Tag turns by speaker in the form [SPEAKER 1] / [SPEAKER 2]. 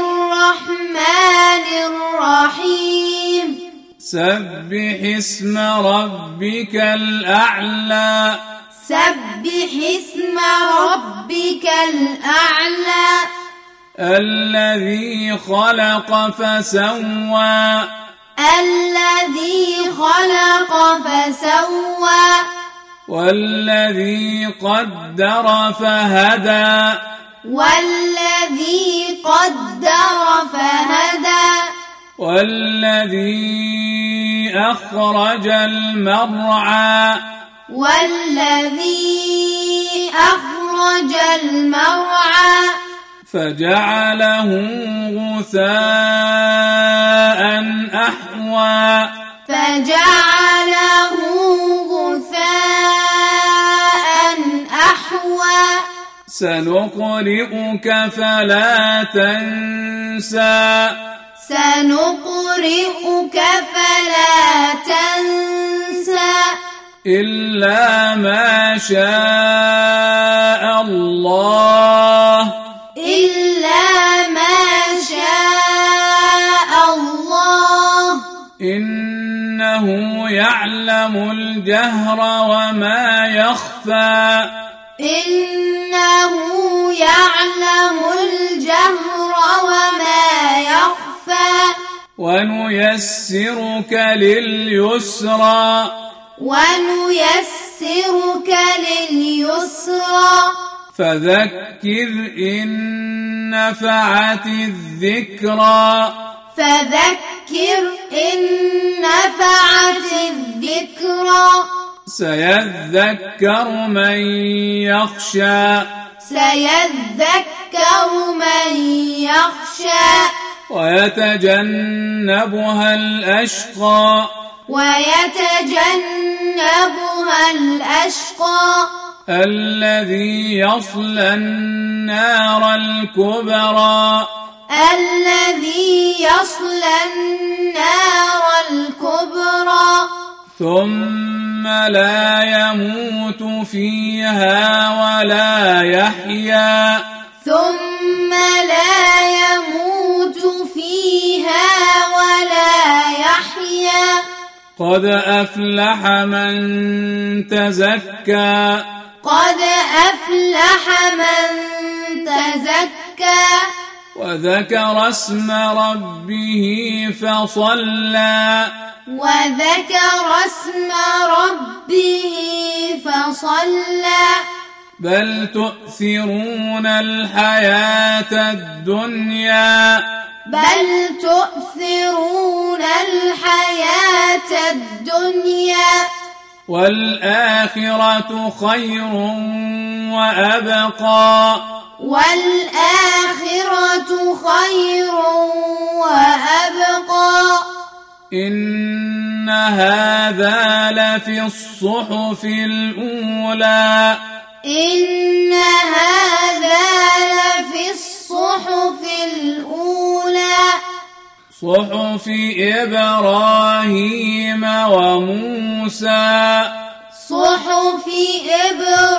[SPEAKER 1] الرحمن الرحيم
[SPEAKER 2] سبح اسم ربك الأعلى
[SPEAKER 1] سبح اسم ربك الأعلى
[SPEAKER 2] الذي خلق فسوى
[SPEAKER 1] الذي خلق فسوى
[SPEAKER 2] والذي قدر فهدى
[SPEAKER 1] والذي قدر فهدى
[SPEAKER 2] والذي أخرج المرعى
[SPEAKER 1] والذي أخرج المرعى
[SPEAKER 2] فجعله غثاء أحوى
[SPEAKER 1] فجعله غثاء أحوى
[SPEAKER 2] سنقرئك فلا تنسى
[SPEAKER 1] سنقرئك فلا تنسى
[SPEAKER 2] إلا ما شاء الله
[SPEAKER 1] إلا ما شاء الله
[SPEAKER 2] إنه يعلم الجهر وما يخفى
[SPEAKER 1] إنه يعلم الجهر وما يخفى
[SPEAKER 2] ونيسرك لليسرى
[SPEAKER 1] ونيسرك لليسرى
[SPEAKER 2] فذكر إن نفعت الذكرى
[SPEAKER 1] فذكر إن نفعت الذكرى
[SPEAKER 2] سيذكر من يخشى
[SPEAKER 1] سيذكر من يخشى
[SPEAKER 2] ويتجنبها الأشقى
[SPEAKER 1] ويتجنبها الأشقى
[SPEAKER 2] الذي يصلى النار الكبرى
[SPEAKER 1] الذي يصلى النار الكبرى
[SPEAKER 2] ثم لا يموت فيها ولا يحيا
[SPEAKER 1] ثم لا يموت فيها ولا يحيا
[SPEAKER 2] قد أفلح من تزكى
[SPEAKER 1] قد أفلح من تزكى
[SPEAKER 2] وذكر اسم ربه فصلى
[SPEAKER 1] وذكر اسم ربه فصلى
[SPEAKER 2] بل تؤثرون الحياة الدنيا
[SPEAKER 1] بل تؤثرون الحياة الدنيا
[SPEAKER 2] والآخرة خير وأبقى
[SPEAKER 1] والآخرة خير وأبقى
[SPEAKER 2] إن هذا لفي الصحف الأولى
[SPEAKER 1] إن هذا لفي الصحف الأولى
[SPEAKER 2] صحف إبراهيم وموسى
[SPEAKER 1] صحف إبراهيم